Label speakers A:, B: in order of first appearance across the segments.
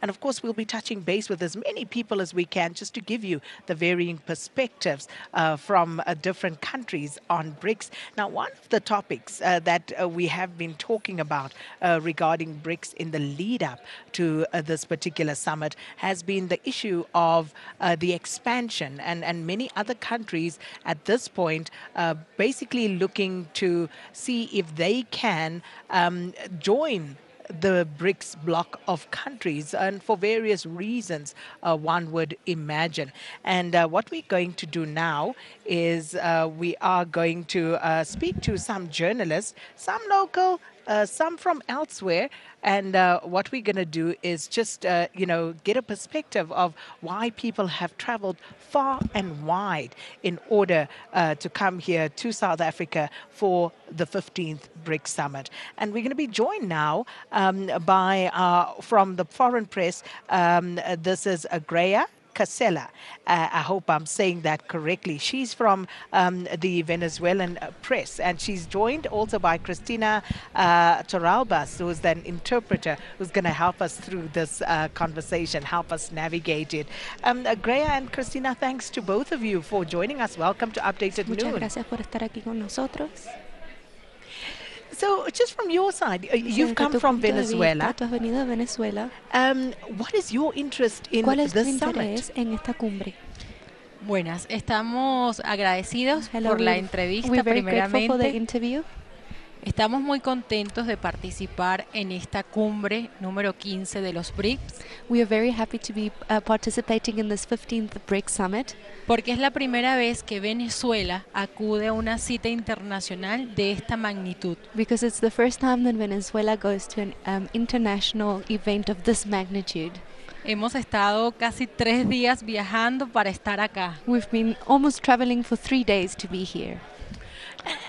A: And of course, we'll be touching base with as many people as we can just to give you the varying perspectives uh, from uh, different countries on BRICS. Now, one of the topics uh, that we have been talking about uh, regarding BRICS in the lead up to uh, this particular summit has been the issue of uh, the expansion, and, and many other countries at this point uh, basically looking to see if they can um, join the BRICS bloc of countries, and for various reasons, uh, one would imagine. And uh, what we're going to do now is uh, we are going to uh, speak to some journalists, some local, uh, some from elsewhere. And uh, what we're going to do is just, uh, you know, get a perspective of why people have traveled far and wide in order uh, to come here to South Africa for the 15th BRICS Summit. And we're going to be joined now um, by uh, from the foreign press. Um, this is Agrea. Casella, uh, I hope I'm saying that correctly. She's from um, the Venezuelan press, and she's joined also by Cristina uh, Toralbas, who's an interpreter who's going to help us through this uh, conversation, help us navigate it. Um, Agrea and Cristina, thanks to both of you for joining us. Welcome to Updated
B: Muchas
A: Noon.
B: gracias por estar aquí con nosotros.
A: So, just from your side, uh, you've come from Venezuela.
B: Vista, tú has venido de Venezuela.
A: Um, what is your interest in
B: ¿Cuál es tu
A: this
B: interés
A: summit?
B: en esta cumbre?
C: Buenas, estamos agradecidos
B: Hello,
C: por la
B: we're-
C: entrevista
B: we're very grateful for the
C: primeramente.
B: interview.
C: Estamos muy contentos de participar en esta cumbre número 15 de los BRICS
B: We are very happy to be uh, participating in this 15th BRICS Summit
C: porque es la primera vez que Venezuela acude a una cita internacional de esta magnitud.
B: because it's the first time that Venezuela goes to an um, international event of this magnitude.
C: Hemos estado casi tres días viajando para estar acá.
B: We've been almost traveling for three days to be here.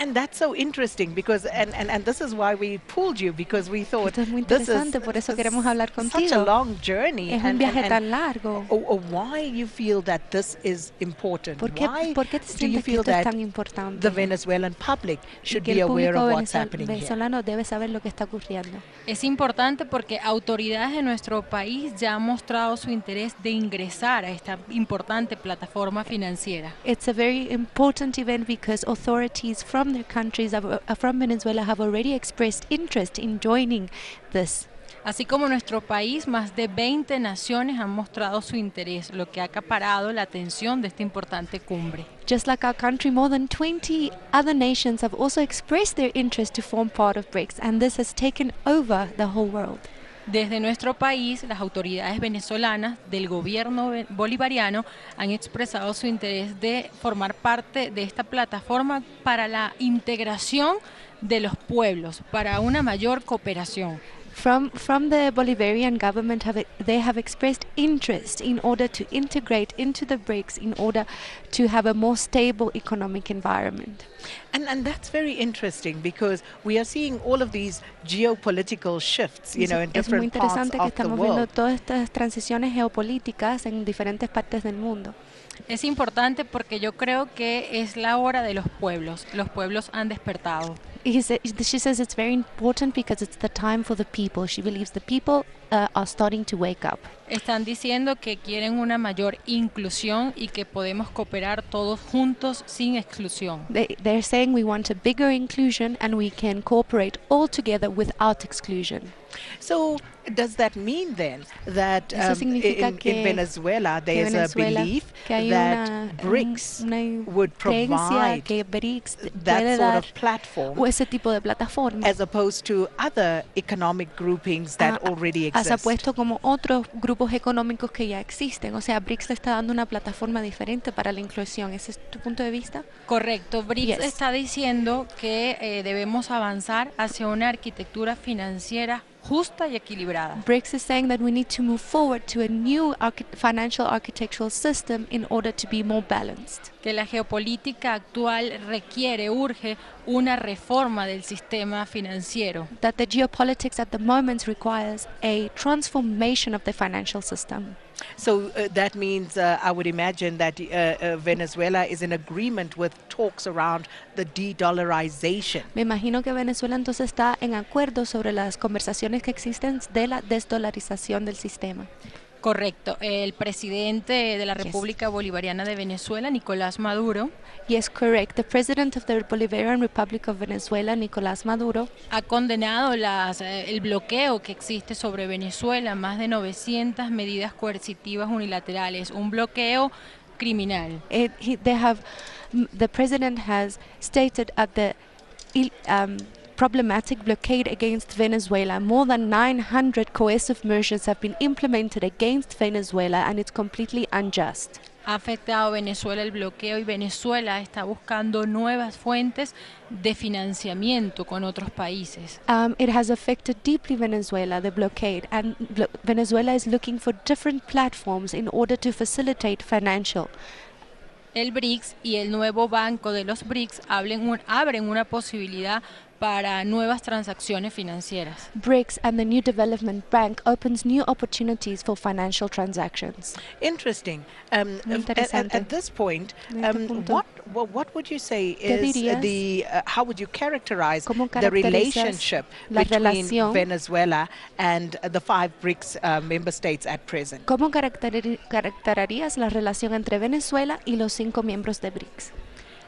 A: And that's so interesting because, and, and, and this is why we pulled you because we thought
B: Esto es muy
A: this is
B: interesante, por eso
A: s-
B: queremos hablar
A: such a
B: contigo.
A: long journey.
B: Es un
A: and, and-
B: viaje
A: and
B: tan largo.
A: o- o why you feel that this is important?
B: ¿Por qué,
A: why
B: ¿por qué te
A: do you
B: sientes que
A: feel
B: esto es
A: that
B: tan importante?
A: the Venezuelan public should
B: que
A: be
B: el
A: aware
B: público
A: of what's
B: venezol-
A: happening here?
B: venezolano debe saber lo que está ocurriendo.
C: Es importante porque autoridades de nuestro país ya han mostrado su interés de ingresar a esta importante plataforma financiera.
B: It's a very important event because authorities from their countries, have, uh, from Venezuela, have already expressed interest in joining this.
C: Así como nuestro país, más de 20 naciones han mostrado su interés, lo que ha acaparado la atención de esta importante cumbre.
B: Just like our country, more than 20 other nations have also expressed their interest to form part of BRICS, and this has taken over the whole world.
C: Desde nuestro país, las autoridades venezolanas del gobierno ve- bolivariano han expresado su interés de formar parte de esta plataforma para la integración de los pueblos, para una mayor cooperación.
B: From, from the Bolivarian government, have, they have expressed interest in order to integrate into the BRICS in order to have a more stable economic environment.
A: And, and that's very interesting because we are seeing all of these geopolitical shifts, you
B: Sí,
A: know, in
B: es muy
A: different parts
B: interesante que
A: of the
B: estamos viendo
A: world.
B: todas estas transiciones geopolíticas en diferentes partes del mundo.
C: Es importante porque yo creo que es la hora de los pueblos. Los pueblos han despertado.
B: He sa- she says it's very important because it's the time for the people. She believes the people uh, are starting to wake up.
C: Están diciendo que quieren una mayor inclusión y que podemos cooperar todos juntos sin exclusión.
B: They, they're saying we want a bigger inclusion and we can cooperate all together without exclusion.
A: So, does that mean then that
B: Eso
A: um,
B: significa
A: in,
B: que-
A: in Venezuela
B: Que
A: there is a
B: Venezuela-
A: belief
B: que hay
A: that
B: una- un-
A: BRICS
B: una
A: would
B: creencia
A: provide
B: que BRICS puede
A: that sort
B: dar
A: of platform
B: o ese tipo de plataforma.
A: as opposed to other economic groupings that
B: ha-
A: already
B: Has
A: exist?
B: apuesto como otros grupos económicos que ya existen. O sea, BRICS le está dando una plataforma diferente para la inclusión. ¿Ese es tu punto de vista?
C: Correcto, BRICS
B: Yes.
C: está diciendo que eh, debemos avanzar hacia una arquitectura financiera justa y equilibrada.
B: BRICS is saying that we need to move forward to a new archi- financial architectural system in order to be more balanced.
C: Que la geopolítica actual requiere, urge una reforma del sistema financiero.
B: That the geopolitics at the moment requires a transformation of the financial system.
A: So uh, that means uh, I would imagine that uh, uh, Venezuela is in agreement with talks around the de-dollarization.
B: Me imagino que Venezuela entonces está en acuerdo sobre las conversaciones que existen de la desdolarización del sistema.
C: Correcto. El presidente de la República Bolivariana de Venezuela, Nicolás Maduro,
B: Yes, correct. The president of the Bolivarian Republic of Venezuela, Nicolás Maduro,
C: ha condenado las, eh, el bloqueo que existe sobre Venezuela, más de 900 medidas coercitivas unilaterales, un bloqueo criminal.
B: it, eh, he, they have, m- the president has stated at the ill- um, problematic blockade against Venezuela. More than 900 coercive measures have been implemented against Venezuela, and it's completely unjust.
C: Ha afectado a Venezuela el bloqueo y Venezuela está buscando nuevas fuentes de financiamiento con otros países.
B: Um, it has affected deeply Venezuela, the blockade, and blo- Venezuela is looking for different platforms in order to facilitate financial
C: El BRICS y el nuevo banco de los BRICS hablen un- abren una posibilidad para nuevas transacciones financieras.
B: BRICS and the new development bank opens new opportunities for financial transactions.
A: Interesting. Um,
B: Muy
A: at- at, at
B: interesante.
A: this point,
B: En este
A: um,
B: punto.
A: what, wha- what would you say
B: ¿Qué
A: is
B: dirías?
A: the uh, how would you characterize
B: ¿Cómo
A: the
B: caracterizas
A: relationship
B: la
A: between
B: relación?
A: Venezuela and uh, the five BRICS uh, member states at present?
B: ¿Cómo caracteri- caracterizarías la relación entre Venezuela y los cinco miembros de BRICS?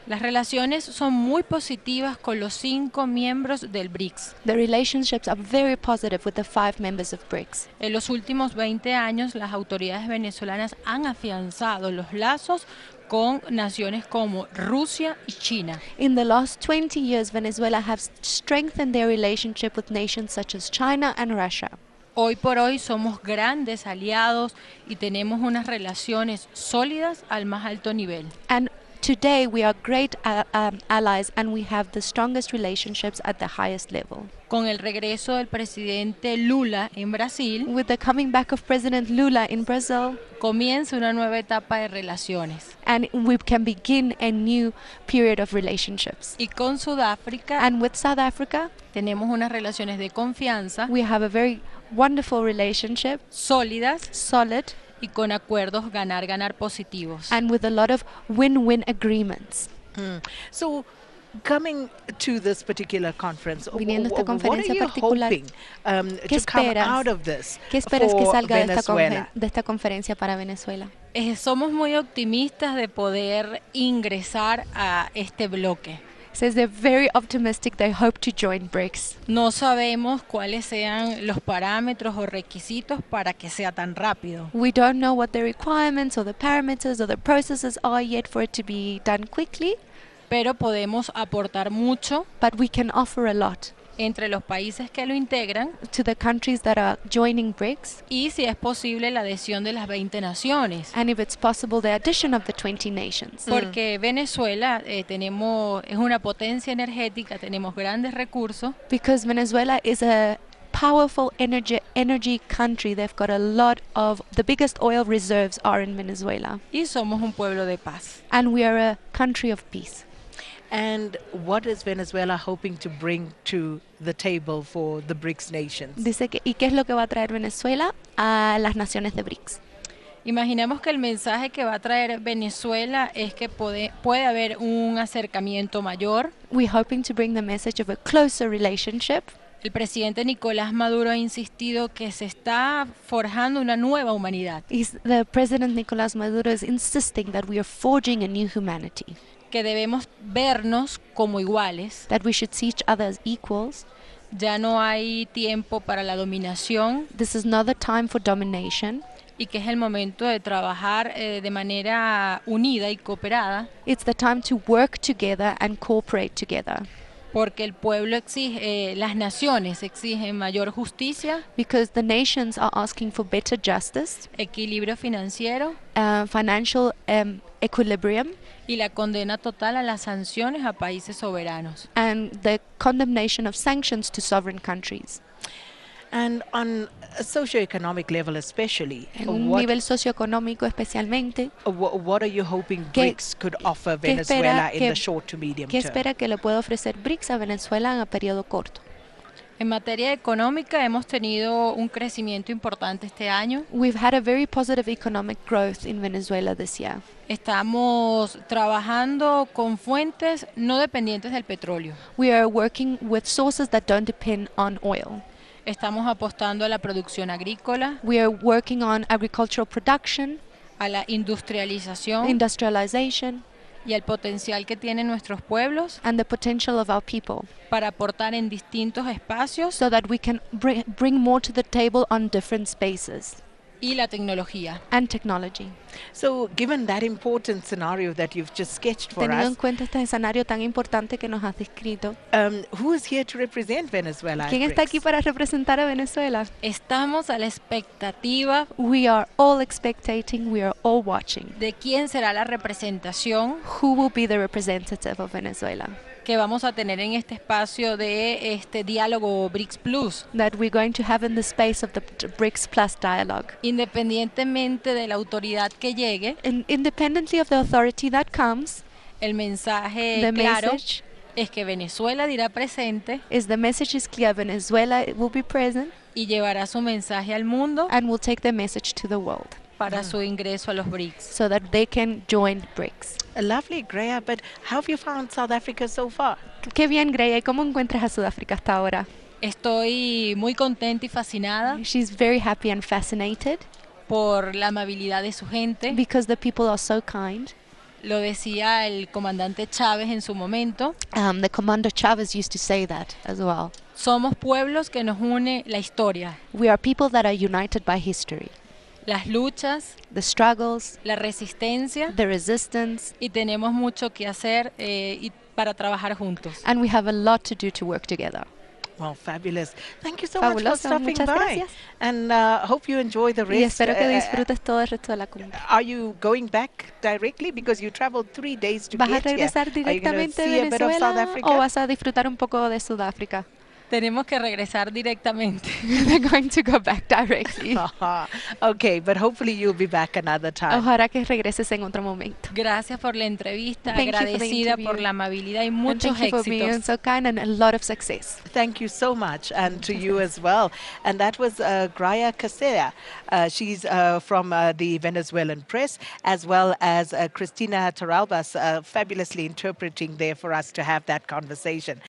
C: Las relaciones son muy positivas con los cinco miembros del BRICS.
B: The relationships are very positive with the five members of BRICS.
C: En los últimos 20 años, las autoridades venezolanas han afianzado los lazos con naciones como Rusia y China.
B: In the last 20 years, Venezuela has strengthened their relationship with nations such as China and Russia.
C: Hoy por hoy somos grandes aliados y tenemos unas relaciones sólidas al más alto nivel.
B: And today, we are great uh, um, allies and we have the strongest relationships at the highest level.
C: Con el regreso del presidente Lula en Brasil,
B: With the coming back of President Lula in Brazil,
C: comienza una nueva etapa de relaciones.
B: and we can begin a new period of relationships.
C: Y con Sudáfrica
B: And with South Africa,
C: tenemos unas relaciones de confianza
B: we have a very wonderful relationship,
C: sólidas
B: solid,
C: y con acuerdos ganar ganar positivos.
B: and with a lot of win win agreements.
A: Mm. So, coming to this particular conference, wh-
B: Viniendo a esta
A: wh- what are
B: conferencia
A: you
B: particular,
A: hoping um,
B: ¿qué
A: to come
B: esperas?
A: out of this
B: ¿Qué esperas que
A: for
B: salga de esta,
A: Venezuela?
B: confe- de esta conferencia para Venezuela?
C: Eh, somos muy optimistas de poder ingresar a este bloque.
B: Says they're very optimistic. They hope to join BRICS.
C: No sabemos cuáles sean los parámetros o requisitos para que sea tan rápido.
B: We don't know what the requirements or the parameters or the processes are yet for it to be done quickly,
C: pero podemos aportar mucho
B: but we can offer a lot
C: entre los países que lo integran
B: to the countries that are joining BRICS.
C: y si es posible la adhesión de las 20 naciones.
B: and if it's possible, the addition of the 20 nations.
C: Porque Venezuela eh, tenemos, es una potencia energética, tenemos grandes recursos
B: Because Venezuela is a powerful energy energy country, they've got a lot of the biggest oil reserves are in Venezuela,
C: y somos un pueblo de paz.
B: and we are a country of peace.
A: And what is Venezuela hoping to bring to the table for the BRICS nations?
B: Dice que, ¿y qué es lo que va a traer Venezuela a las naciones de BRICS?
C: Imaginemos que el mensaje que va a traer Venezuela es que puede, puede haber un acercamiento mayor.
B: We're hoping to bring the message of a closer relationship.
C: El presidente Nicolás Maduro ha insistido que se está forjando una nueva humanidad,
B: He's, the President Nicolas Maduro is insisting that we are forging a new humanity,
C: que debemos vernos como iguales.
B: that we should see each other as equals.
C: Ya no hay tiempo para la dominación
B: This is not the time for domination.
C: y que es el momento de trabajar eh, de manera unida y cooperada
B: It's the time to work together and cooperate together
C: porque el pueblo exige, eh, las naciones exigen mayor justicia,
B: because the nations are asking for better justice,
C: equilibrio financiero
B: uh, financial um, equilibrium,
C: y la condena total a las sanciones a países soberanos.
B: and the condemnation of sanctions to sovereign countries.
A: And on a socioeconomic level, especially,
B: En un
A: what,
B: nivel socioeconómico especialmente,
A: wha- what are you hoping
B: ¿Qué-
A: BRICS could offer
B: qué espera
A: Venezuela in
B: que-
A: the short to medium
B: ¿qué
A: term?
B: espera que le pueda ofrecer BRICS a Venezuela en el periodo corto?
C: En materia económica hemos tenido un crecimiento importante este año.
B: We've had a very positive economic growth in Venezuela this year.
C: Estamos trabajando con fuentes no dependientes del petróleo.
B: We are working with sources that don't depend on oil.
C: Estamos apostando a la producción agrícola,
B: We are working on agricultural production,
C: a la industrialización
B: industrialization,
C: y al potencial que tienen nuestros pueblos
B: and the potential of our people
C: para aportar en distintos espacios
B: so that we can br- bring more to the table on different spaces
C: y la tecnología.
B: and technology.
A: So, given that important scenario that you've just sketched for
B: Teniendo en
A: us,
B: cuenta este escenario tan importante que nos has descrito,
A: um, who is here to represent Venezuela? at
B: ¿quién está aquí
A: BRICS?
B: para representar a Venezuela?
C: Estamos a la expectativa
B: We are all expecting, we are all watching.
C: de quién será la representación
B: Who will be the representative of Venezuela
C: que vamos a tener en este espacio de este diálogo BRICS Plus.
B: that we're going to have in the space of the P- BRICS Plus dialogue?
C: Independientemente de la autoridad que llegue,
B: And independently of the authority that comes,
C: el mensaje
B: the
C: Eh, claro
B: message
C: es que Venezuela dirá presente
B: is the message is clear. Venezuela will be present
C: y llevará su mensaje al mundo
B: and will take the message to the world
C: para su ingreso a los BRICS.
B: so that they can join BRICS.
A: Lovely, Greya, but how have you found South Africa so far?
B: Qué bien, Greya. ¿Y cómo encuentras a Sudáfrica hasta ahora?
C: Estoy muy contenta y fascinada
B: She's very happy and fascinated
C: por la amabilidad de su gente.
B: because the people are so kind.
C: Lo decía el comandante Chávez en su momento.
B: Um, the Commander Chavez used to say that as well.
C: Somos pueblos que nos une la historia,
B: We are people that are united by history,
C: las luchas,
B: the struggles,
C: la resistencia
B: the resistance,
C: y tenemos mucho que hacer eh, y para trabajar juntos.
B: and we have a lot to do to work together.
A: Well, fabulous. Thank you so much
B: Fabuloso,
A: for stopping
B: muchas
A: by.
B: gracias.
A: And uh, hope you enjoy the
B: Y
A: rest.
B: espero que
A: uh,
B: disfrutes todo el resto de la cumbre.
A: Are you going back directly because you traveled three days to
B: ¿Vas a
A: get here?
B: regresar
A: eh, Are you gonna
B: directamente
A: see
B: de
A: a bit of South
B: Venezuela
A: Africa?
B: o vas a disfrutar un poco de Sudáfrica?
C: Tenemos que regresar directamente.
B: They're going to go back directly.
A: Aha. okay, but hopefully you'll be back another time.
B: Ojalá que regreses en otro momento.
C: Gracias por la entrevista,
B: Thank you for the
C: agradecida por
B: interview.
C: la amabilidad y
B: And
C: muchos
B: thank you for being
C: éxitos.
B: so kind and a lot of success.
A: Thank you so much, and to you as well. And that was uh, Graya Casea. Uh, she's uh, from uh, the Venezuelan press, as well as uh, Cristina Toralbas, uh, fabulously interpreting there for us to have that conversation.